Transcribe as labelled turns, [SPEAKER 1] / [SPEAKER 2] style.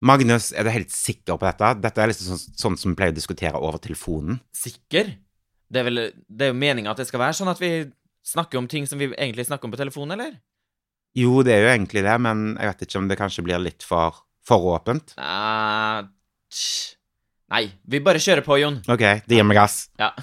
[SPEAKER 1] Magnus, er du helt sikker på dette? Dette er liksom sånn, sånn som vi pleier å diskutere over telefonen.
[SPEAKER 2] Sikker? Det er, vel, det er jo meninga at det skal være sånn at vi snakker om ting som vi egentlig snakker om på telefonen, eller?
[SPEAKER 1] Jo, det er jo egentlig det, men jeg vet ikke om det kanskje blir litt for, for åpent.
[SPEAKER 2] Nei, tj. Nei, vi bare kjører på, Jon.
[SPEAKER 1] Ok, det gir meg gass.
[SPEAKER 2] Ja.